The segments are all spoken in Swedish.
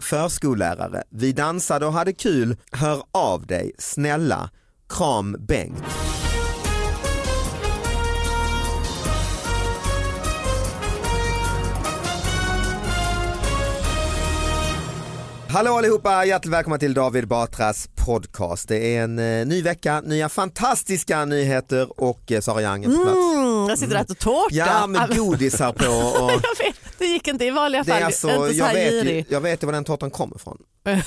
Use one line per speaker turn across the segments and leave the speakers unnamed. förskollärare, vi dansade och hade kul, hör av dig, snälla, kram Bengt. Hallå allihopa, hjärtligt välkomna till David Batras podcast. Det är en eh, ny vecka, nya fantastiska nyheter och eh, Sara Young är på plats.
Mm, jag sitter och äter tårta.
Ja
All-
med godisar på och
Alltså- jag vet, det gick inte i vanliga
det
fall.
är alltså,
inte så
jag,
här
vet ju,
girig.
jag vet ju var den tårtan kommer ifrån.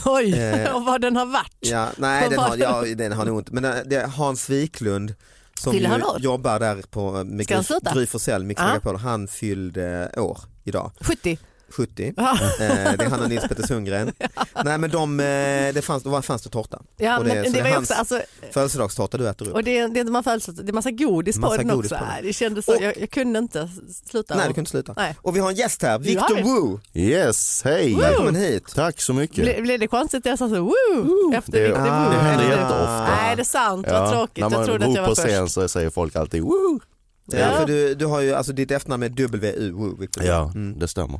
Oj,
Eh,
och var den har varit.
Ja, nej
Vad
den
var
har,
det?
ja, den har nog inte, men eh, det är Hans Wiklund som
Fyller
ju
han år?
jobbar där på eh, med
Ska han
Gry-
sluta?
Gry Forssell, Mix
Ja.
Megapol, han fyllde eh, år idag,
70.
70.
Ja.
Eh, Det är han och Nils Petter Sundgren. Nej men de, eh, det fanns, det var- fanns det tårta.
Ja,
Och
det,
så
men det var ju också, alltså,
födelsedagstårta du äter upp.
och det, är- det, är inte man födelsedag, det är massa godis
Massa
på den
godis
också.
på den.
Nej, Det kändes så,
Och-
jag, jag kunde inte sluta.
Nej du kan inte sluta.
Nej.
Och vi har en gäst här,
Vi har
Victor
det.
Wu.
Yes, hej!
Välkommen hit.
Tack så mycket.
Ble, blev det konstigt? Jag sa så woo, efter
det-
Victor
det
Ah.
Woo.
händer
Eller-
jätteofta.
Nej det är sant, vad tråkigt.
När man
Jag trodde att
bor
jag var
på
först.
scen så säger folk alltid woo.
Ja. Eh, för du, du har ju, alltså ditt efternamn är W Wu, Victor.
Ja,
Mm.
det stämmer.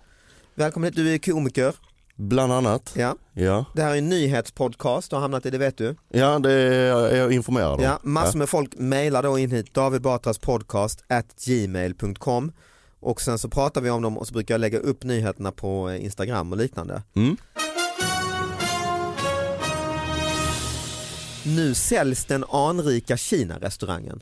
Välkommen hit, du är komiker.
Bland annat.
Ja.
Ja,
Det här är en nyhetspodcast, du har hamnat i det vet du.
ja det är jag informerad om.
Ja, massor med folk mejlar då in hit, David Batras podcast at gmail.com och sen så pratar vi om dem och så brukar jag lägga upp nyheterna på eh, Instagram och liknande.
Mm.
Nu säljs den anrika Kina-restaurangen.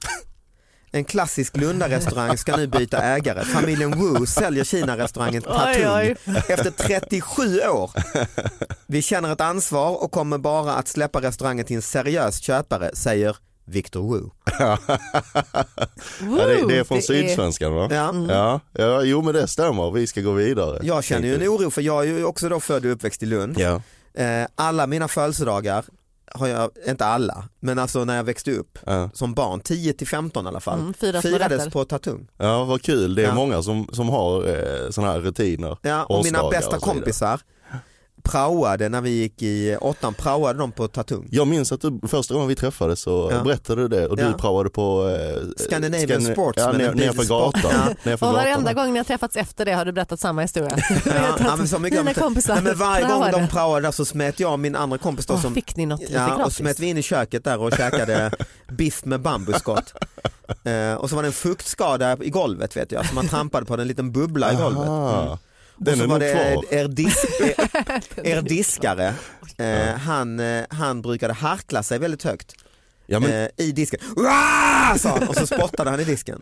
En klassisk Lunda-restaurang ska nu byta ägare. Familjen Wu säljer Kina-restaurangen Patung
Oj,
efter 37 år. Vi känner ett ansvar och kommer bara att släppa restaurangen till en seriös köpare, säger Victor Wu.
Woo,
Ja, det, det är från Sydsvenskan va?
Ja.
Mm.
Ja. ja, jo men det stämmer, vi ska gå vidare.
Jag känner ju en oro för jag är ju också då född och uppväxt i Lund.
Ja,
Eh, alla mina födelsedagar har jag, inte alla, men alltså när jag växte upp
ja.
som barn, 10 till 15 i alla fall,
Mm, firas med rätter.
firades på Tatung.
ja vad kul, det är
Ja.
många som, som har eh, sådana här rutiner.
Ja, och mina
årsdagar
bästa
och så vidare.
kompisar praoade när vi gick i åttan, praoade de på Tatung.
Jag minns att du, första gången vi träffades så
Ja.
berättade du det och du
Ja.
praoade på eh,
Scandinavian
Scan-
Sports,
ja,
men
ner,
en bil-
nerför
sport.
gatan.
Ja.
Nerför
Och
gatan.
varenda gång ni har träffats efter det har du berättat samma historia.
Ja, ja, men så mycket
Mina
om det.
kompisar
Nej, men varje gång de
praoade.
praoade där så smet jag och min andra kompis då
Åh,
som
Fick ni något lite
Ja, och
gratis?
smet vi in i köket där och käkade biff med bambuskott. Eh, och så var det en fuktskada i golvet vet jag, så man trampade på den, en liten bubbla i golvet.
Aha.
Mm.
Den
och så
är
var
nog
det
kvar.
er, dis er, er diskare, eh, han, eh, han brukade harkla sig väldigt högt
Ja, men,
eh, i disken. Uah! sa han och så spottade han i disken.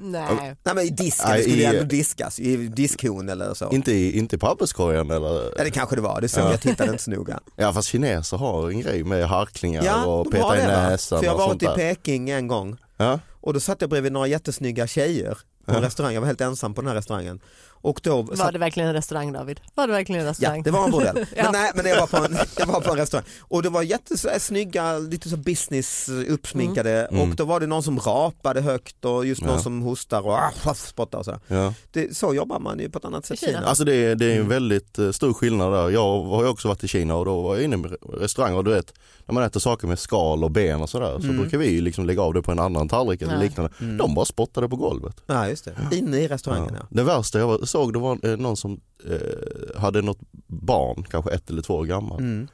Nej.
Nej men i disken, det
Nej,
skulle ju
i-
ändå diskas, i diskhon eller så.
Inte i, inte i papperskorgen eller?
Ja det kanske det var, det såg jag tittade inte så noga.
Ja fast kineser har en grej med harklingar och
de har
peta i
det, va?
näsan
För jag
och
har
sånt
varit i
där.
Peking en gång
ja?
och då satt jag bredvid några jättesnygga tjejer på en restaurang, jag var helt ensam på den här restaurangen. Och då
Var det verkligen en restaurang David? Var det verkligen en restaurang?
Ja, det var en bordell.
Ja.
men, nej, men jag, var på en, jag var på en restaurang och det var jättesnygga, lite så business eh, uppsminkade och då var det någon som rapade högt och just någon som hostar och ah, spottar och sådär.
Ja.
Det, så jobbar man ju på ett annat sätt i
Kina.
Kina.
Alltså det är, det är
Mm.
en väldigt eh, stor skillnad där. Jag har ju också varit i Kina och då var jag inne i restauranger och du vet när man äter saker med skal och ben och sådär
Mm.
så brukar vi ju liksom lägga av det på en annan tallrik eller
Nej.
liknande. De bara spottade på golvet.
Ja, just det. Inne i restaurangen ja.
Det värsta jag var- såg det var eh, någon som eh, hade något barn, kanske ett eller två år gammal.
Mm.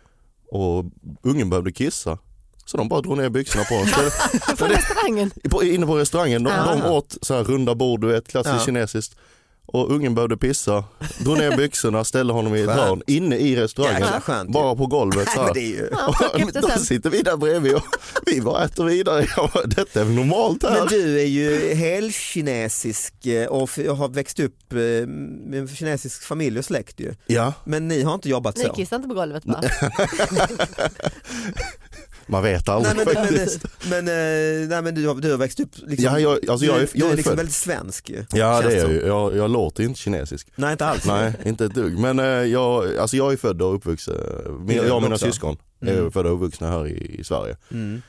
Och ungen behövde kissa. Så de bara drog ner byxorna på honom.
Från restaurangen?
på, inne på restaurangen, de,
Ja.
de åt så här runda bord, du vet klassiskt
Ah. Ja.
kinesiskt. Och ungen behövde pissa, drog ner byxorna, ställde honom i ett
Skönt.
hörn inne i restaurangen.
Jäkla skönt.
bara på golvet så
Nej, men
här.
det är ju...
Ja, plocka upp det
Då
sen.
sitter vi där bredvid och vi bara äter vidare. Jag bara, Detta är väl normalt här?
Men du är ju helkinesisk eh, och f- har växt upp eh, med en kinesisk familj och släkt ju.
Ja,
Men ni har inte jobbat
Ni
så.
kissar inte på golvet bara?
man vet aldrig
Nej men, men,
faktiskt.
men, eh, nej, men du, har, du har växt upp liksom,
Ja, jag, alltså jag,
du,
är,
du
jag är
är liksom
född-
väldigt svensk ju.
Ja
känns
det är jag
som. Alltså.
ju, jag, jag låter ju inte kinesisk.
Nej inte alls.
Nej inte ett dugg. Men eh, jag, alltså jag är född och uppvuxen, min,
Ja,
jag och mina
också.
syskon är
Mm.
födda och uppvuxna här i, i Sverige.
Mm.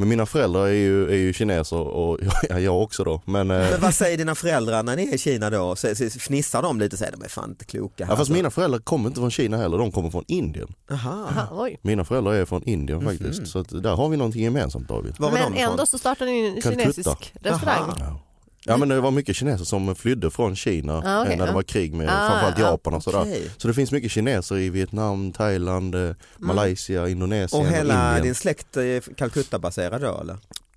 Men mina föräldrar är ju, är ju kineser och jag, jag också då. Men, eh,
Men vad säger dina föräldrar när ni är i Kina då? Så, så, fnissar de lite och säger de är fan inte kloka här.
ja, fast mina föräldrar kommer inte från Kina heller, de kommer från Indien.
Aha.
Aha, oj.
Mina föräldrar är från Indien
Mhm.
faktiskt. Så att där har vi någonting gemensamt David.
Var var
Men
de ifrån?
ändå så startade ni en
Calcutta.
kinesisk restaurang.
Ja. Ja men det var mycket kineser som flydde från Kina
Ah, okej,
eh, när
ja.
det var krig med
Ah,
framförallt
ja,
Japan och sådär.
okej.
Så det finns mycket kineser i Vietnam, Thailand,
Mm.
eh, Malaysia, Indonesien
Och
och,
hela
Indien.
din släkt är Calcutta-baserad då eller?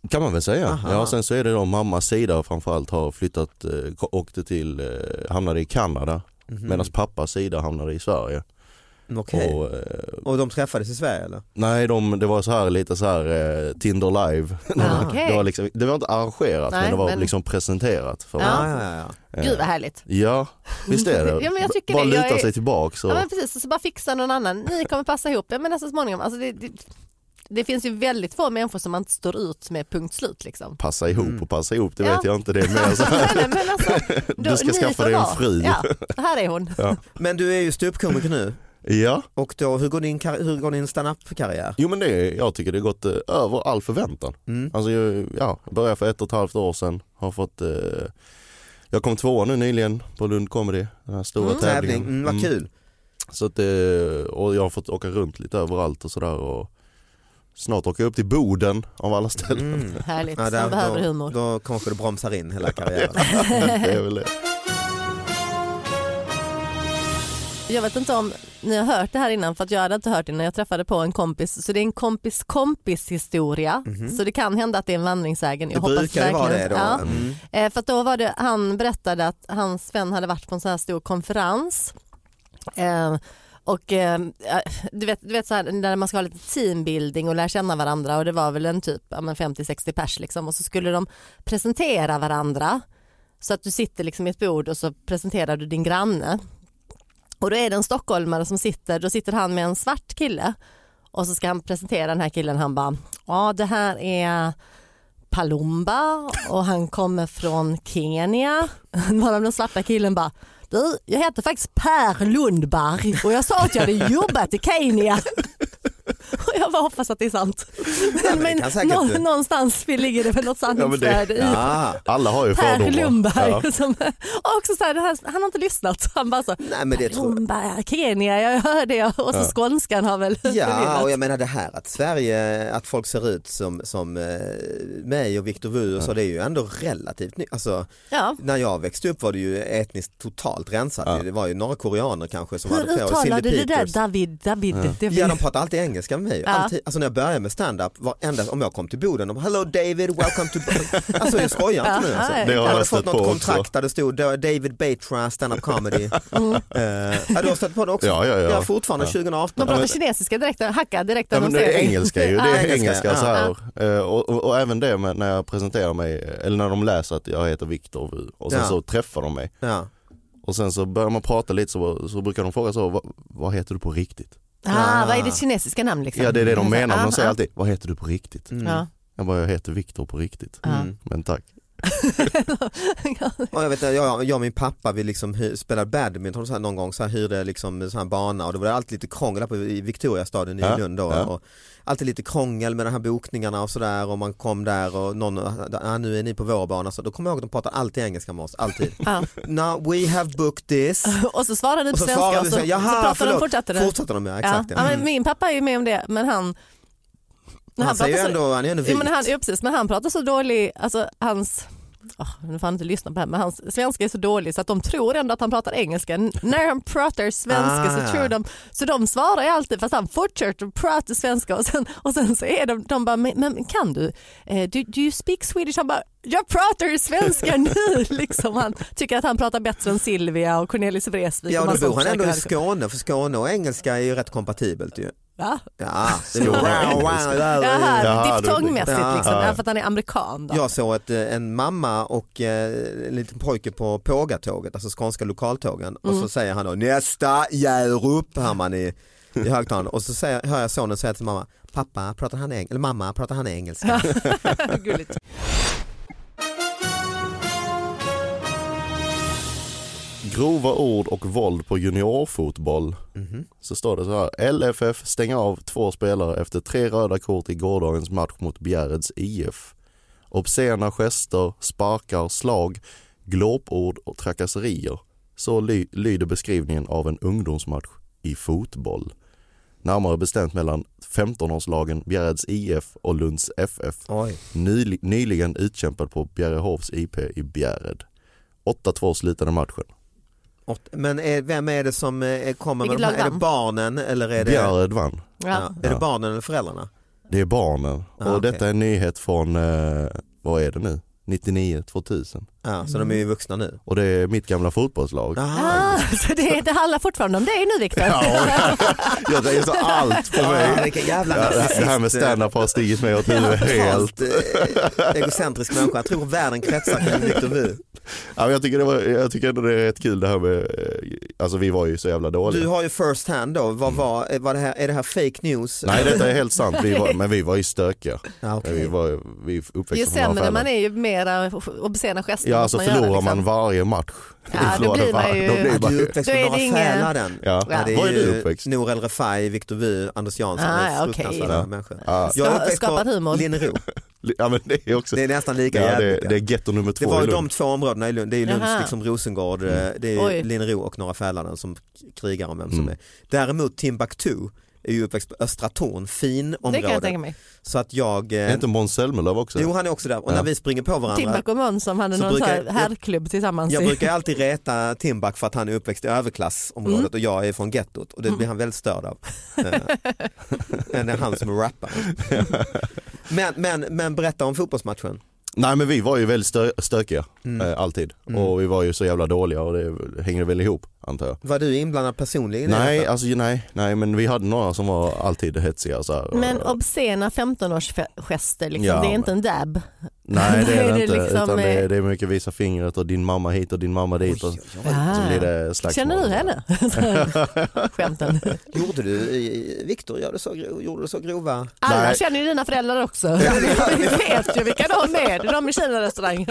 Kan man väl säga.
Aha.
Ja, sen så är det då mammas sida framförallt har flyttat, eh, ko- åkte till, eh, hamnade i Kanada
Mhm.
medan pappas sida hamnade i Sverige.
Okej.
Och, eh,
Och de träffades i Sverige eller?
nej, de, det var så här lite så här eh, Tinder live.
Ah,
Det, var
Okej,
liksom, det var inte arrangerat
Nej,
men det var
men-
liksom presenterat. För
Ja.
ja.
Ja, ja, ja.
gud vad härligt.
ja, visst är det.
Ja, men jag tycker
Bara
det. Jag
luta
är-
sig tillbaks. Och,
Ja men precis, och så bara fixa någon annan. Ni kommer passa ihop. Ja, men så småningom. Alltså det, det, det finns ju väldigt få människor som man inte står ut med punkt slut liksom.
Passa ihop
Mm.
och passa ihop, det
Ja.
vet jag inte. Det är mer så
Nej, nej, men alltså, då-
du ska
ni
skaffa
får
dig en
vara.
fru.
Ja, här är hon.
Men du är ju ståuppkomiker nu
ja.
och då, hur går din, kar- hur går din standup-karriär?
Jo men det, jag tycker det har gått eh, över all förväntan.
Mm.
Alltså jag, ja, jag började för ett och ett halvt år sedan, har fått eh, jag kom tvåa nu nyligen på Lund Comedy, den här stora
Tävling,
tävlingen.
mm, vad
Mm.
kul.
Så att, eh, och jag har fått åka runt lite överallt och sådär och snart åker jag upp till Boden av alla ställen.
Mm.
Härligt,
Ja,
man
där-
behöver
då,
humor.
Då kanske du bromsar in hela karriären.
det är väl det.
Jag vet inte om ni har hört det här innan för att jag hade inte hört det när jag träffade på en kompis. Så det är en kompis kompis historia. Så det kan hända att det är en vandringssägen. Jag
Mhm. Det
hoppas
brukar ju vara det
verkligen-
då.
Ja.
Mm.
Eh, För att då var det, han berättade att hans vän hade varit på en sån här stor konferens. Eh, och eh, du vet, du vet så här, när man ska ha lite teambuilding och lära känna varandra och det var väl en typ ja, men 50-60 pers liksom och så skulle de presentera varandra så att du sitter liksom i ett bord och så presenterar du din granne. Och då är det en stockholmare som sitter, då sitter han med en svart kille och så ska han presentera den här killen han bara ja det här är Palumba och han kommer från Kenya. Bara den svarta killen bara du, jag heter faktiskt Per Lundberg och jag sa att jag hade jobbat i Kenya. Och jag bara hoppas att det är sant.
men det kan säkert
nå-
det.
någonstans ligger det väl något
Ja, men det-
sanningsvärde i
Ah.
Alla har ju
Per
fördomar.
Lundberg.
Ja.
Som, och också så här, det här, han har inte lyssnat. Han bara så,
Nej, men det
Per
tror jag.
Lundberg, Kenya, jag hör det. Och så skånskan har väl
Ja,
förvirrat.
och jag menar det här att Sverige, att folk ser ut som, som eh, mig och Victor Wu och så, det är ju ändå relativt nytt. Alltså,
ja.
när jag växte upp var det ju etniskt totalt rensat. ju. Det var ju några koreaner kanske som
Hur
hade på
uttalar du
Cindy
det där
Peters.
David? David, David.
Ja de pratar alltid engelska med mig.
Ja.
Alltid, alltså när jag började med stand-up, varenda, om jag kom till Boden, de hello David, welcome to Boden. Alltså jag skojar inte nu. Alltså.
Ja, ja.
Det har
jag
jag
hade fått
stött på
något
också.
kontrakt där det stod David Batra, stand-up comedy. Mm. ja, du har stött på det också?
Ja, ja, ja.
Jag är fortfarande
De
2018.
pratar kinesiska direkt, hacka direkt.
Ja, men det är
annonsering.
engelska ju, det
Ja.
är
engelska,
engelska
ja.
så här. Eh, Och, och, och även det med när jag presenterar mig, eller när de läser att jag heter Viktor Wu och sen
Ja.
så träffar de mig.
Ja.
Och sen så börjar man prata lite så, så brukar de fråga så, "Va- vad heter du på riktigt?
Ah, vad är ditt kinesiska namn liksom?
Ja det är det de
Mm.
menar,
Ah,
de säger
ah.
alltid, vad heter du på riktigt?
Ja.
Jag bara, jag heter Viktor på riktigt. Men tack.
Ja, jag, vet, jag, jag, jag och min pappa vi liksom hy- spelade badminton så här någon gång, så här, hyrde liksom en sån här bana och då var det alltid lite krångel här på i Victoriastadion i
Ja,
Lund då.
ja.
Och alltid lite krångel med de här bokningarna och sådär och man kom där och någon, ah, nu är ni på vår bana, så då kommer jag ihåg att de pratade alltid engelska med oss, alltid.
Ja.
Now we have booked this.
ah. Och så svarade du
Och
på
så
svenska
svarade
och
vi
så,
så,
så,
här, jaha,
pratade de
förlåt.
fortsatte du.
Fortsatte de ja,
Ja.
exakt. Ja. Mm.
Ja, men min pappa är ju med om det men han
Han,
han
säger ju
pratar så-
ändå, han är ju ändå
Ja, men
vit.
han, ja, precis, men han pratar så dålig, alltså hans, åh, nu får han inte lyssna på det här, men hans svenska är så dålig så att de tror ändå att han pratar engelska. N- När han pratar svenska
Ah.
så tror de, så de svarar ju alltid fast han fortsätter att prata svenska och sen, och sen så är de, de bara, men, men kan du, eh, do, do you speak Swedish? Han bara, jag pratar svenska nu liksom. Han tycker att han pratar bättre än Silvia och Cornelis Vreeswijk.
Ja,
och
och
massa
då bor han ändå i
försöker-
Skåne, för Skåne och engelska är ju rätt kompatibelt ju.
Va?
Ja, det är
Skåne och
wow, wow,
engelska.
där.
Jaha,
Jaha, du-
diftongmässigt
Ja.
liksom,
Ja.
ja. för att han är amerikan. Då.
Jag såg att eh, en mamma och eh, en liten pojke på Pågatåget, alltså skånska lokaltågen och
Mm.
så säger han då nästa Hjärup, hör man i, i högtalaren och så säger, hör jag sonen säga till mamma, pappa pratar han engelska, eller mamma pratar han engelska?
Gulligt.
Grova ord och våld på juniorfotboll. Så står det så här. LFF stänger av två spelare efter tre röda kort i gårdagens match mot Bjärreds IF. Obscena gester, sparkar, slag, glåpord och trakasserier. Så ly- lyder beskrivningen av en ungdomsmatch i fotboll. Närmare bestämt mellan 15-årslagen Bjärreds IF och Lunds FF.
Oj.
Nyli- nyligen utkämpad på Bjärehovs IP i Bjärred. 8-2 slutade matchen.
Och- Men är, vem är det som eh, kommer med de här?
Vilket lag
Är det
vann?
barnen eller är det,
Bjärred vann.
ja. är det barnen eller föräldrarna?
Det är barnen.
Ja,
Ah,
och
okej.
detta är en nyhet från, eh, vad är det nu? 99, 2000.
Ja, så de är ju vuxna nu.
Och det är mitt gamla fotbollslag.
Aha.
Mm. Ah, så det, det handlar fortfarande om dig nu Viktor?
Jag tänker så allt på
Ah,
mig.
vilken jävla
Ja,
nazist.
det här med
eh.
stand-up har stigit mig åt huvudet helt.
Totalt, eh, egocentrisk människa, jag tror världen kretsar kring Victor Wu.
Ja, men jag, tycker det var, jag tycker ändå det är rätt kul det här med, eh, alltså vi var ju så jävla dåliga.
Du har ju first hand då, vad var, eh, var det här, är det här fake news?
Mm. Nej detta är helt sant, vi var, men vi var ju stökiga.
Ja, okej.
Vi var vi uppväxte
Ah, Ju
på våra
sämre
föräldrar.
man är ju mera obscena gester
Ja,
måste
alltså
man göra,
förlorar
liksom.
man varje match.
Ja, då
Förlorar
blir man
var-
ju-
då blir
Ja,
man
du är
ju-
uppväxt
Då
med
är
några
det inget-
Fälaren.
Ja.
Ja, det
Var är
är
du
ju
uppväxt?
Nour El Refai, Victor Wu, Anders Jansson,
Ah,
det är
okej.
fruktansvärda
Ja.
människor.
Ja.
Jag är
Ska-
uppväxt
skapad
på
humor.
Linnero,
Ja men det är också,
det är nästan lika
ja, det,
jävligt. ja.
det är getto nummer
det
två
var
i
ju
Lund.
de två områdena i Lund, det är ju Lunds
Jaha.
liksom Rosengård, eh, det är ju
Oj.
Linnero och Norra Fälaren som krigar om vem som
Mm.
är. Däremot Timbuktu är ju uppväxt på Östra Torn, fin
Det kan jag tänka
område.
mig.
Så att jag,
Är
eh,
inte Måns Zelmerlöw också?
jo han är också där och
Ja.
när vi springer på varandra
Timbuk och Måns som hade
Så
någon
brukar-
så här
jag-
herrklubb tillsammans.
Jag
i-
brukar alltid reta Timbuk för att han är uppväxt i överklassområdet och jag är från gettot och det blir han väldigt störd av. Eh, Men det är han som är rapparen. Men, men, men berätta om fotbollsmatchen.
Nej men vi var ju väldigt stö- stökiga,
Mm.
eh, alltid. Och vi var ju så jävla dåliga och det hänger väl ihop antar jag.
Var du inblandad personligen i
Nej,
detta?
alltså ju- nej, nej men vi hade några som var alltid hetsiga så här.
Men
Och-
obscena 15-årsgester, liksom.
Ja,
det är
men-
inte en dab.
Nej det
Då
är det inte,
liksom,
utan det är,
eh,
det är mycket visa fingret och din mamma hit och din mamma dit. Och, så blir det slagsmål.
Ah. Känner du henne? Skämten.
Gjorde du, eh, Viktor, gör du så, gro- gjorde du så grova?
Alla
Nej.
känner ju dina föräldrar också. Vi vet ju vilka de är, det är de i Kina-restaurangen.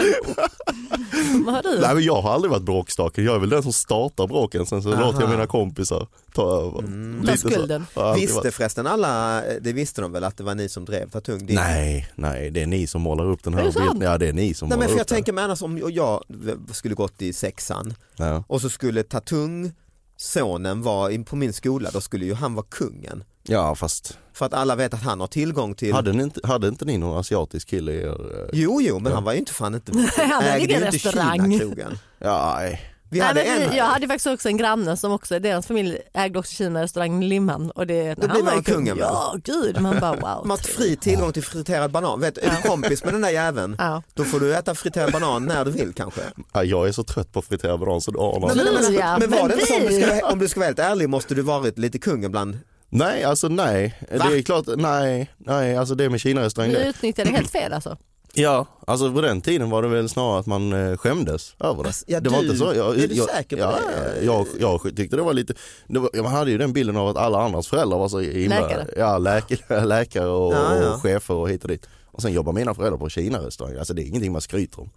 Vad har du?
Nej men jag har aldrig varit bråkstaken, jag är väl den som startar bråken sen så låter jag mina kompisar ta över.
Ta
så.
skulden.
Jag har alltid varit-
Mm. Visste förresten alla, eh, det visste de väl att det var ni som drev Tatung? Din-
Nej, nej det är ni som målar upp den
Är
här
det sant?
bilden. Ja det är ni som
Nej men
målar
för
upp
jag tänker mig annars om jag skulle gått i sexan
den. Ja.
och så skulle Tatung, sonen, vara in på min skola, då skulle ju han vara kungen.
ja fast
För att alla vet att han har tillgång till
hade, ni inte, hade inte ni någon asiatisk kille i er? eh,
Jo, jo, men han var ju inte fan inte...
han hade
ägde ju
ingen
inte
restaurang.
Kina-krogen.
Ja, nej.
Vi
Nej,
hade
men
en
vi, jag hade faktiskt också en granne som också, deras familj ägde också Kina-restaurangen i Limhamn. Och det,
Då
han
blir
var
man
ju kung.
kungen, va?
Ja, gud. Man bara wow.
Man har fri tillgång till friterad banan. Vet, är du kompis med den där jäveln,
Ja.
då får du äta friterad banan när du vill kanske.
Ja, jag är så trött på friterad banan så du anar.
Men, men, men,
ja,
men var
men
det inte så, om du,
vi-
ska, om du ska vara helt ärlig, måste du varit lite kungen bland...
Nej, alltså nej. Det är klart, nej, nej, alltså det med Kina-restaurang
Du
det.
utnyttjade det helt fel alltså.
Ja, alltså på den tiden var det väl snarare att man eh, skämdes över det.
Alltså, ja,
det var
du-
inte så. Jag,
är du
jag,
säker på
ja,
det?
Jag, jag, tyckte det var lite, det var, man hade ju den bilden av att alla andras föräldrar var så himla,
Läkare.
Ja, läkare, läkare och,
Ja, ja.
och chefer och hit och dit. Och sen jobbar mina föräldrar på Kina-restaurang, alltså det är ingenting man skryter om.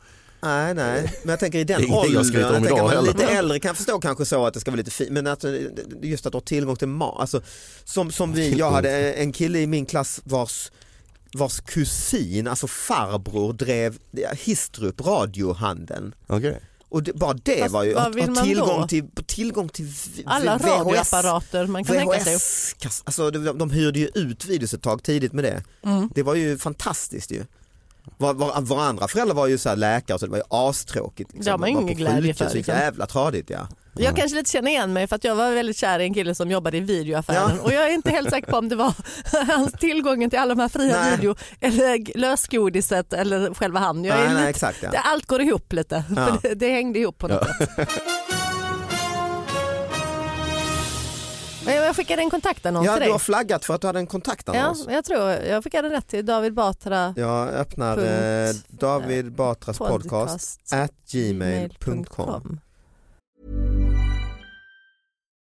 Nej, nej, men jag tänker i
Det
den
är ingenting jag
åldern,
skryter
jag
om
tänker
idag
man är
heller.
lite äldre kan jag förstå kanske så att det ska vara lite fint, men att, eh, just att ha tillgång till mat, alltså, som, som vi, jag hade en kille i min klass vars vars kusin, alltså farbror, drev Histrup radiohandeln.
Okej.
Och det, bara det
Fast
var ju
vad
att
vill
ha
man
tillgång
då?
till, tillgång till v-
Alla
VHS.
radioapparater man kan tänka sig.
VHS, kass- alltså de, de hyrde ju ut videos ett tag tidigt med det.
Mm.
Det var ju fantastiskt ju. Var, var, våra andra föräldrar var ju så här läkare så det var ju astråkigt. Liksom.
Det har man ju
var
ingen
på
glädje
sjukhus,
för,
Så
liksom.
jävla tradigt ja.
Jag kanske lite känner igen mig för att jag var väldigt kär i en kille som jobbade i videoaffären och jag är inte helt säker på om det var hans tillgången till alla de här fria
Nej.
video eller g- lösgodiset eller själva han. Jag är
Nej, nej,
lite,
exakt, ja.
det, allt går ihop lite.
Ja.
För det, det hängde ihop på något sätt. Men Jag skickade en kontaktannons
Ja,
till
du
dig.
har flaggat för att du hade en kontaktannons.
Ja, jag tror jag skickade rätt till David Batra.
Jag öppnar eh,
Punkt.
David Batras podcast, at gmail.com.
gmail.com.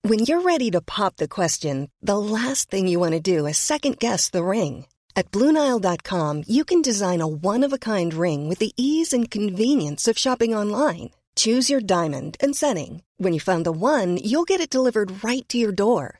When you're ready to pop the question, the last thing you want to do is second guess the ring. At Bluenile.com, you can design a one of a kind ring with the ease and convenience of shopping online. Choose your diamond and setting. When you find the one, you'll get it delivered right to your door.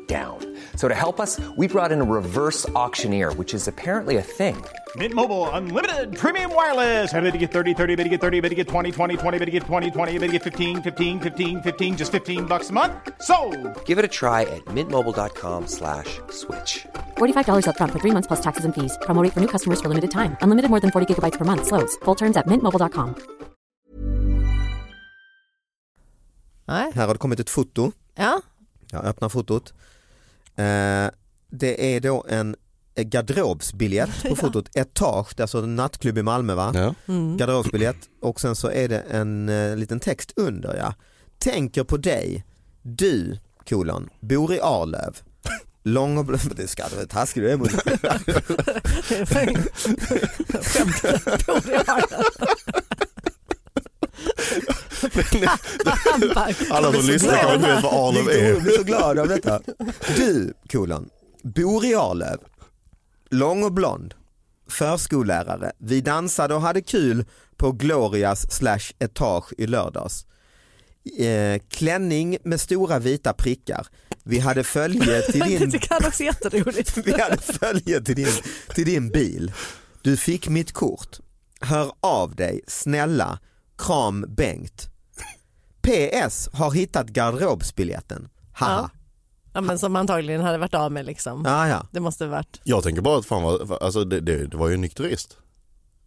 down. So to help us, we brought in a reverse auctioneer, which is apparently a thing.
Mint Mobile unlimited premium wireless. Ready to get 30, 30, ready to get 30, ready to get 20, 20, 20, ready to get 20, 20, ready to get 15, 15, 15, 15 just 15 bucks a month. Sold.
Give it a try at mintmobile.com slash switch.
$45 upfront for three months plus taxes and fees. Promo rate for new customers for limited time. Unlimited more than 40 gigabytes per month. Slows. Full terms at mintmobile.com.
Nej.
Här har det kommit ett foto.
Ja.
Jag öppnar fotot. Eh, det är då en eh, garderobsbiljett på fotot. Etage, det är alltså en nattklubb i Malmö va?
Ja.
Garderobsbiljett och sen så är det en eh, liten text under ja. Tänker på dig, du kolon, bor i Arlöv. Lång och blå, det ska du vara taskig du är mot
Alla som lyssnar kanske inte vet vad Arlöv
Victor Hugo
är.
blir så glad av detta. Du, kolon, bor i Arlöv, lång och blond, förskollärare. Vi dansade och hade kul på Glorias slash etage i lördags. Eh, klänning med stora vita prickar. Vi hade följe till din
Det kan också jätteroligt.
vi hade följe till din, till din bil. Du fick mitt kort. Hör av dig, snälla. Kram Bengt. PS har hittat garderobsbiljetten. Haha.
Ja, men som antagligen hade varit av med liksom.
Ja. Ah, ja.
Det måste ha varit.
Jag tänker bara att fan vad, alltså det, det, det var ju en nykterist.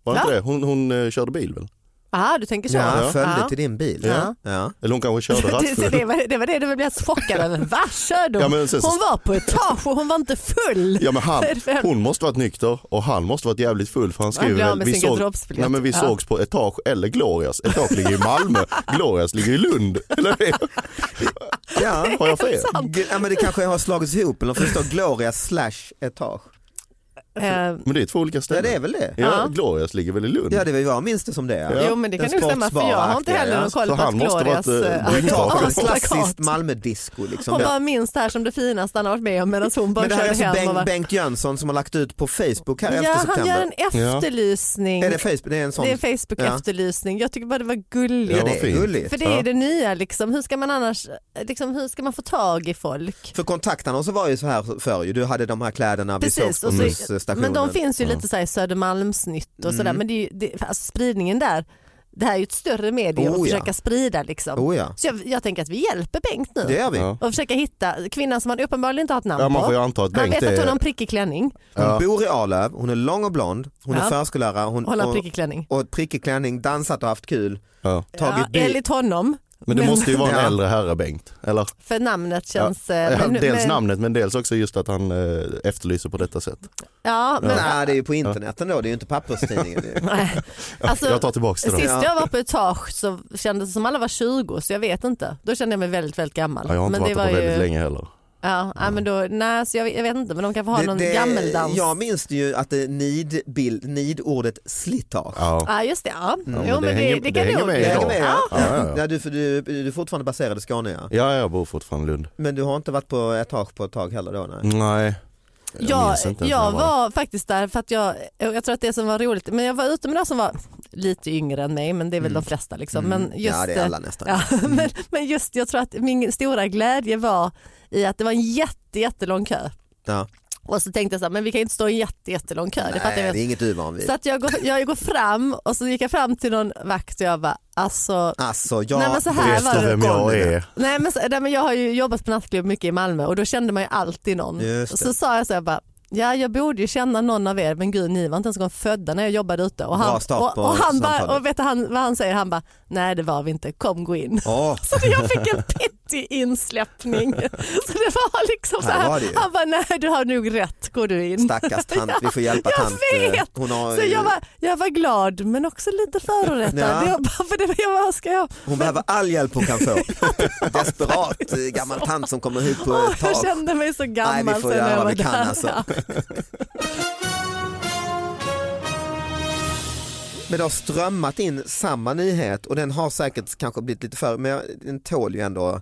Var det
Ja.
inte det? Hon, hon eh, körde bil väl?
Aha, du tänker så?
Ja, följe
Ja.
till din bil.
Ja.
Ja.
Eller hon kanske körde
Det, det,
rattfull.
det, var, det var det du blev så chockad över. Va, körde
Ja,
hon?
men sen så-
hon var på etage och hon var inte full.
Ja men han,
Vad är det för-
hon måste varit nykter och han måste varit jävligt full för han skriver
blev av
väl,
med
vi,
sin garderobsbiljett."
nej, men vi
Ja.
sågs på Etage eller Glorias. Etage ligger i Malmö, Glorias ligger i Lund. Eller det,
Ja.
har jag fel?
G- ja men det kanske har slagits ihop eller för det står Gloria slash etage.
Eh,
Men det är två olika
Ja
ställen.
det är väl det.
Ja, Glorias ligger väl i Lund.
Ja det var jag minns det som det. Ja.
Jo men det
Den
kan nog stämma för jag har inte
sportsbaraktiga,
heller
ja.
någon koll
Så
på att
han måste
Glorias...
varit, eh,
eh,
på
Etage var
Plakat.
klassiskt
plakat.
Malmödisco liksom.
Hon bara minns det här som det finaste han har varit med om medan hon bara
Men det här är
körde
alltså
hem och
Bengt,
var...
Bengt Jönsson som har lagt ut på Facebook här efter
Ja han
september.
gör en efterlysning.
Är det Facebook? Det är en sån.
Det är en Facebook-efterlysning. Jag tycker bara det var gulligt.
Ja,
Ja,
det är
fint.
gulligt.
För
För,
det är ju det nya liksom. Hur ska man annars, liksom, hur ska man få tag i folk?
kontaktannonser var ju så här förr ju. Du hade de här kläderna vid
Precis, och så-
Sågsbussstationen.
Men de finns ju lite så här i Södermalmsnytt och sådär. Men det är ju, det, alltså, spridningen där, det här är ju ett större medium
Oh,
att
ja.
försöka sprida liksom.
Oh, ja.
Så jag, jag tänker att vi hjälper Bengt nu.
Det gör vi.
Ja.
Och försöka hitta kvinnan som han uppenbarligen inte har ett namn
Ja,
på.
man får ju anta att
han vet
Bengt
att hon
är-
har en prickig klänning.
Hon bor i Arlöv, hon är lång och blond, hon är
Ja.
förskollärare, hon,
Hon har prickig klänning.
och prickig klänning, dansat och haft kul.
Ja.
Tagit
ja,
bil.
enligt honom.
Men det måste ju vara en
Ja.
äldre herre Bengt. Eller?
För namnet känns...
Ja.
eh,
Ja,
men-
dels
men-
namnet men dels också just att han eh, efterlyser på detta sätt.
Ja, men,
Nej det är ju på internet ändå, det är ju inte papperstidningen. Det är ju-
Nej. Alltså,
Jag tar tillbaks det då.
Sist jag var på etage så kändes det som alla var 20 så jag vet inte. Då kände jag mig väldigt väldigt gammal.
Ja, jag har
men
inte varit
det
där
var
på väldigt
ju,
länge heller.
Ja, ja. men då, nej, så jag, jag vet inte men de kan få ha
Det-
någon
det-
gammeldans.
Jag minns det ju att det nidbild, nidordet slitage.
Ja.
Ja just det, ja.
men
jo men
det
det,
hänger-
det
det
kan
hänger
nog.
med
Jag
idag.
är med, ja.
Ja, ja, ja.
Ja, du, för du, du är fortfarande baserad i Skåne ja.
ja, jag bor fortfarande i Lund.
Men du har inte varit på etage på ett tag heller då?
Mm.
Nej.
Nej. Jag
Jag,
minns
jag,
inte ens när jag var.
var faktiskt där för att jag, jag tror att det som var roligt, men jag var ute med några som var lite yngre än mig men det är väl
Mm.
de flesta liksom. Men just,
Mm. ja det är alla nästan.
Ja, men, men just jag tror att min stora glädje var i att det var en jätte, jättelång kö.
Ja.
Och så tänkte jag så här, men vi kan ju inte stå i en jätte, jättelång kö. det fattar
Nej,
jag
det är
väl.
inget du är van vid.
Så att jag går, jag går fram och så gick jag fram till någon vakt och jag bara alltså
Alltså jag
Nej, men så här
Vet
var
du
det.
vem jag är?
Nej men, så- nej men jag har ju jobbat på nattklubb mycket i Malmö och då kände man ju alltid någon.
Just det.
Så sa jag så här bara, ja jag borde ju känna någon av er men gud ni var inte ens en gång födda när jag jobbade ute. Och
Bra
han,
start
och,
på
och han bara,
samtalet.
och vet du han, vad han säger? Han bara, nej det var vi inte, kom gå in.
Åh,
Så det- jag fick en pittig insläppning. Så det var liksom så
Här
här,
var det ju.
han bara nej du har nog rätt, går du in.
stackars tant, vi får hjälpa
jag
tant.
vet.
Hon, har,
Så jag var, jag var glad men också lite förorättad.
Ja.
Jag bara, för det, jag bara, ska jag?
hon behöver all hjälp hon kan få. Desperat eh, gammal tant som kommer ihop på
Åh,
ett
jag
tak.
kände mig så gammal
Nej, vi får
sen när
göra
jag
vad
var
vi kan,
där.
alltså.
Ja.
Men det har strömmat in samma nyhet och den har säkert kanske blivit lite för, men jag- den tål ju ändå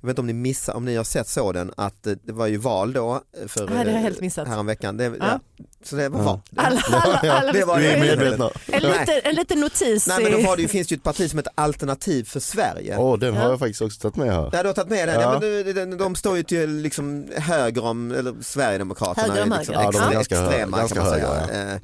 jag vet inte om ni missar, om ni har sett så den, att eh, det var ju val då eh, för
Nej, det har jag
eh,
helt missat.
häromveckan. Det, ja.
Ja.
Så det var val.
Alla, alla, alla,
Det var
Vi är
det.
medvetna.
en, liten, en liten notis.
Nej men då
i-
var det ju, finns ju ett parti som heter Alternativ för Sverige.
Åh, den har jag faktiskt också tagit med här.
Ja, du har tagit med den.
Ja.
Ja. men de, de, de står ju till liksom höger om eller Sverigedemokraterna.
Höger om
är liksom
höger.
Ja, de är
extre-
ganska hö-
extrema
ganska
kan man säga.
höger,
Eh,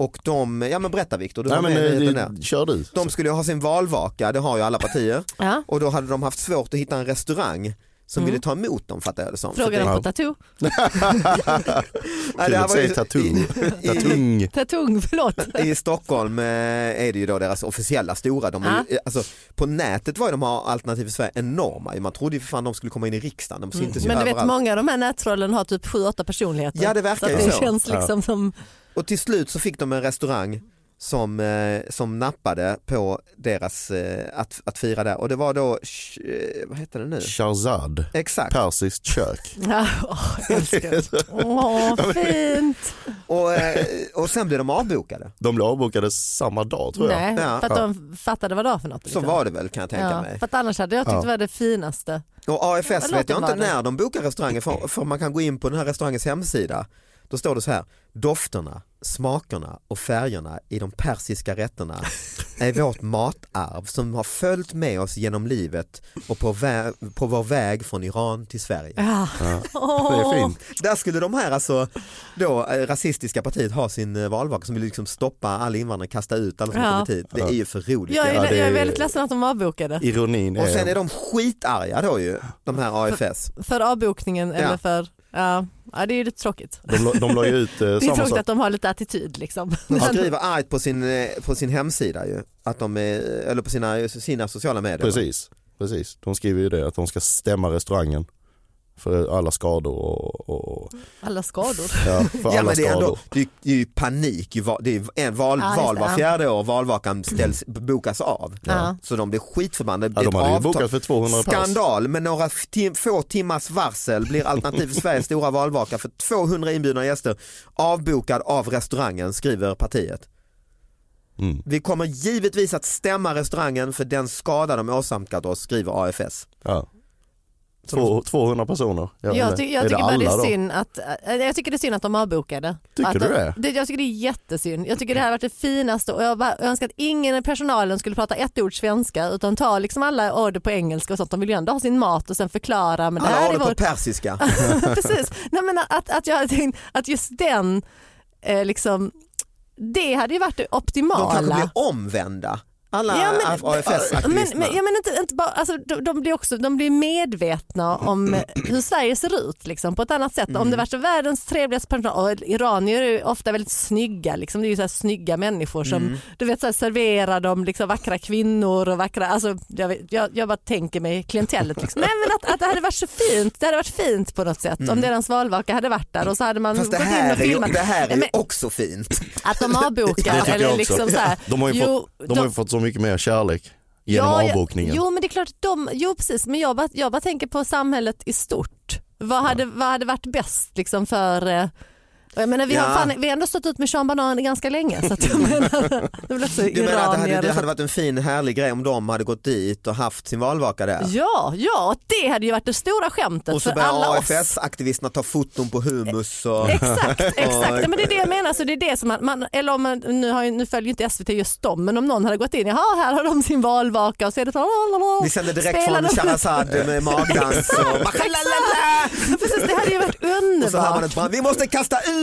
Och de, ja men berätta Viktor, du
Nej
var
men
med i
eh,
nyheten
det-
där.
kör du.
De skulle ju ha sin valvaka, det har ju alla partier.
Ja.
Och då hade de haft svårt att hitta en restaurang som ville ta emot dem fattar jag det som. Så
Mm. Frågar
det-
de på Tattoo?
Nej,
Kul
det här
att
var ju-
säga tattoo.
i-
Tatung.
Tatung, förlåt.
I Stockholm eh, är det ju då deras officiella stora. De är, ju- alltså, på nätet var ju de här alternativ i Sverige enorma. ju. Man trodde ju för fan de skulle komma in i riksdagen. De syntes ju
Men du vet
överallt.
många av de här nättrollen har typ 7-8 personligheter.
Ja, det verkar
så.
ju
att det
så.
känns liksom som,
Och till slut så fick de en restaurang som, eh, som nappade på deras eh, att, att fira där. Och det var då, sh- eh, vad heter det nu?
Shahrzad.
Exakt.
Persiskt kök.
ja, åh, jag älskar det. Åh, fint.
Och, eh, och sen blev de avbokade.
De blev avbokade samma dag tror jag.
Nej,
Ja.
för att de fattade vad det var för något.
Så
liksom.
var det väl kan jag tänka
ja,
mig.
För att annars hade jag tyckt det var det finaste.
Och AFS
Vad
vet
låter
jag inte
vara det?
när de bokar restauranger för, för man kan gå in på den här restaurangens hemsida. Då står det så här, dofterna, smakerna och färgerna i de persiska rätterna är vårt matarv som har följt med oss genom livet och på, vä- på vår väg från Iran till Sverige.
Ja.
Det
Åh.
är fint.
Där skulle de här alltså, då, eh, rasistiska partiet ha sin eh, valvaka som vill liksom stoppa alla invandrare, kasta ut alla som
Ja.
kommit hit. Det är ju för roligt.
Jag är,
Ja, det
jag
är-
är väldigt ledsen att de avbokade.
Ironin är...
Och sen är de skitarga då ju, de här AFS.
För avbokningen eller
Ja.
för... Ja, ja, det är ju lite tråkigt.
De, la- de la ju ut eh,
Det är
samma
tråkigt
sak.
att de har lite attityd liksom.
De skriver argt på sin, eh, på sin hemsida ju, att de är, eller på sina, sina sociala medier.
Precis, precis. De skriver ju det att de ska stämma restaurangen. För alla skador och, och, och
Alla skador.
ja, för
Ja
alla
men det är,
skador.
ändå, det är ju- det är ju panik, ju va- det är ju en val,
Ja, just
val
det,
var
ja.
fjärde år, valvakan ställs, bokas av.
Ja.
Så de blir skitförbannade.
Ja, de
Ett
hade ju
avtal-
bokat för 200 pass.
Skandal, med några f- tim- få timmars varsel blir Alternativ för Sveriges stora valvaka för 200 inbjudna gäster avbokad av restaurangen, skriver partiet.
Mm.
Vi kommer givetvis att stämma restaurangen för den skada de åsamkat oss, skriver AFS.
Ja. Två, 200 personer. Ja,
Jag,
men
ty- jag
är
tycker bara det
alla
är
då?
synd att, äh, jag tycker det är synd att de avbokade.
Tycker
att
du
de,
det?
Jag tycker det är jättesynd. Jag tycker det här har varit det finaste och jag bara önskar att ingen i personalen skulle prata ett ord svenska utan ta liksom alla order på engelska och sånt. De vill ju ändå ha sin mat och sen förklara. Men det
Alla
här
har
är
det
vår...
på persiska.
Precis. Nej, men att, att, jag hade tänkt att just den, eh, liksom, det hade ju varit det
De kanske
optimala.
blir omvända. Alla
Ja, men- men,
AFS-aktivisterna.
men, ja, men inte, inte bara, alltså, de, de blir också de blir medvetna om eh, hur Sverige ser ut liksom, på ett annat sätt. Om det
Mm.
var så världens trevligaste personal, och iranier är ju ofta väldigt snygga, liksom. det är ju så här snygga människor som
Mm.
du vet, så här, serverar dem liksom, vackra kvinnor och vackra, alltså, jag, vet, jag, jag bara tänker mig klientellet. Liksom. Nej, men att, att det hade varit så fint, det hade varit fint på något sätt om deras valvaka hade varit där och så hade man
Mm. Fast det
gått in
här,
och
är ju,
filmat.
det här är ju
Men-
också fint.
Att de avbokar
Det tycker jag
eller
också.
liksom så här,
De har ju,
jo,
fått, de har ju fått så mycket mer kärlek genom
ja,
avbokningen.
Jo men det är klart, att de, jo precis men jag bara, jag bara tänker på samhället i stort. Vad hade, vad hade varit bäst liksom för eh, och jag menar, vi,
Ja.
har fan, vi har ändå stått ut med Sean Banan ganska länge. Så att, jag menar, det blir också
Du menar att det hade,
iranier
det
och
hade
så.
varit en fin härlig grej om de hade gått dit och haft sin valvaka där?
Ja, ja, det hade ju varit det stora skämtet
Och så
för alla
börjar
oss.
AFS-aktivisterna ta foton på hummus och...
Exakt, exakt. Nej, men det är det jag menar. Så det är det som man, man, eller om man, nu, har ju, nu följer ju inte SVT just dem, men om någon hade gått in, jaha här har de sin valvaka och så är det så lalalala.
Vi sänder direkt
Spelar
från
de-
Shahrazad med magdans och...
Exakt. Precis, det hade ju varit
Och så hör man ett
underbart.
brand. Vi måste kasta ut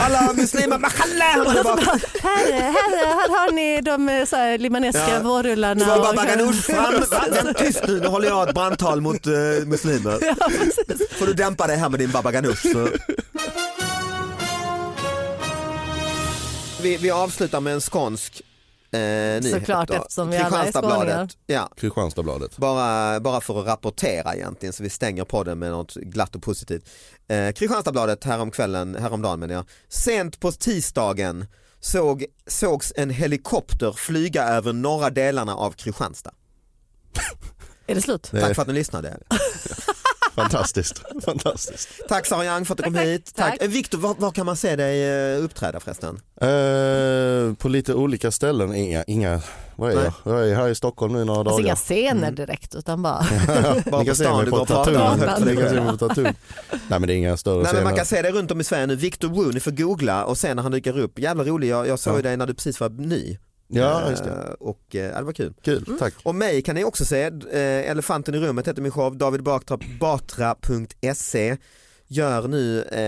alla muslimer, Machallah! Och det bara-
Här, här, här har ni de eh, så här, limanesiska
Ja.
vårrullarna.
Så var bara
och-
Baganosh fram, vänd tyst nu, nu håller jag ett brandtal mot eh, muslimer.
Ja, precis.
Får du dämpa dig här med din Baba Ganoush. så. Vi, vi avslutar med en skånsk eh, nyhet.
Såklart,
då.
eftersom vi alla är
Kristianstadsbladet,
skåningar.
Ja,
Kristianstadsbladet.
bara, bara för att rapportera egentligen så vi stänger podden med något glatt och positivt. Eh, Kristianstadsbladet häromkvällen, häromdagen menar jag. Sent på tisdagen såg, sågs en helikopter flyga över norra delarna av Kristianstad.
Är det slut?
Det
Tack
är
för att ni lyssnade.
fantastiskt. fantastiskt.
Tack Sara Young för att du kom hit. Tack.
Tack.
Eh, Viktor, var, var kan man se dig eh, uppträda förresten?
Eh, på lite olika ställen, inga, inga vad är
Nej.
jag? Jag är här i Stockholm nu några
Alltså
dagar.
inga scener
Mm.
direkt utan bara
Bara
Ni
på
kan se
stan,
mig
du
på
går och pratar högt
Tatun.
för
Ni
dig
kan se
själv.
mig på Tatun. Nej men det är inga större
Nej, men man
scener.
kan se dig runt om i Sverige nu, Victor Wu, ni får googla och sen när han dyker upp, jävla rolig, jag, jag såg ju
Ja.
dig när du precis var ny.
Ja, just det.
Eh, Och eh, ja, det var kul.
Kul,
mm.
tack.
Och mig kan ni också se, eh, Elefanten i rummet heter min show, davidbatra.se E, gör nu eh,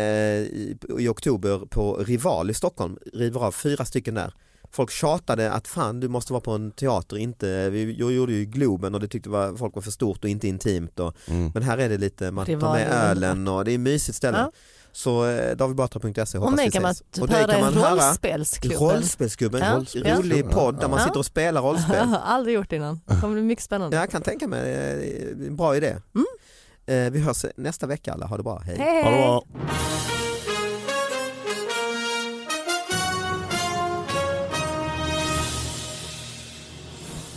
i, i oktober på Rival i Stockholm, river av fyra stycken där. Folk tjatade att fan du måste vara på en teater, inte, vi, jag gjorde ju Globen och det tyckte var, folk var för stort och inte intimt. Och, Men här är det lite, man tar
Rival
med
är
ölen och det är ett mysigt ställe.
Ja.
Så eh, davidbatra.se
Och
hoppas
mig
vi
kan man
ses.
typ
dig
höra i
höra
rollspelsklubben.
Rollspelsgubben,
Ja,
rollspelsgubben. rolig
ja.
podd där man
Ja.
sitter och spelar
Jag
rollspel.
har aldrig gjort det innan. Det kommer bli mycket spännande.
Jag kan tänka mig, eh, en bra idé. Eh, Vi hörs nästa vecka alla, ha det bra, hej.
Hej!
Ha det bra.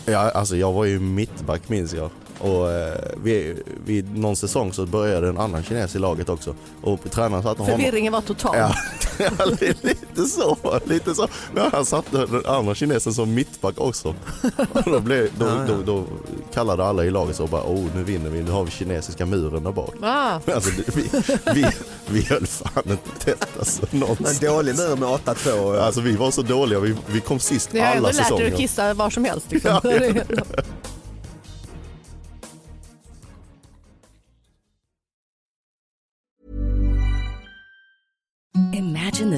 Ja, alltså jag var ju mittback minns jag. Och eh, vid, vid någon säsong så började en annan kines i laget också. Och tränaren satte honom...
Förvirringen var total.
Ja, ja, li- lite så. Lite så. Men han satte den andra kinesen som mittback också. Och då, blev, då, då, då kallade alla i laget så och bara oh nu vinner vi, nu har vi kinesiska muren där bak.
Ah.
Men Alltså, det- vi, vi, vi höll fan inte tätt alltså, någonstans.
En dålig mur med 8-2.
Alltså vi var så dåliga, vi, vi kom sist
Det har jag
alla
ändå lärt dig att
säsonger.
kissa var som helst. Liksom.
Ja, ja.
Imagine the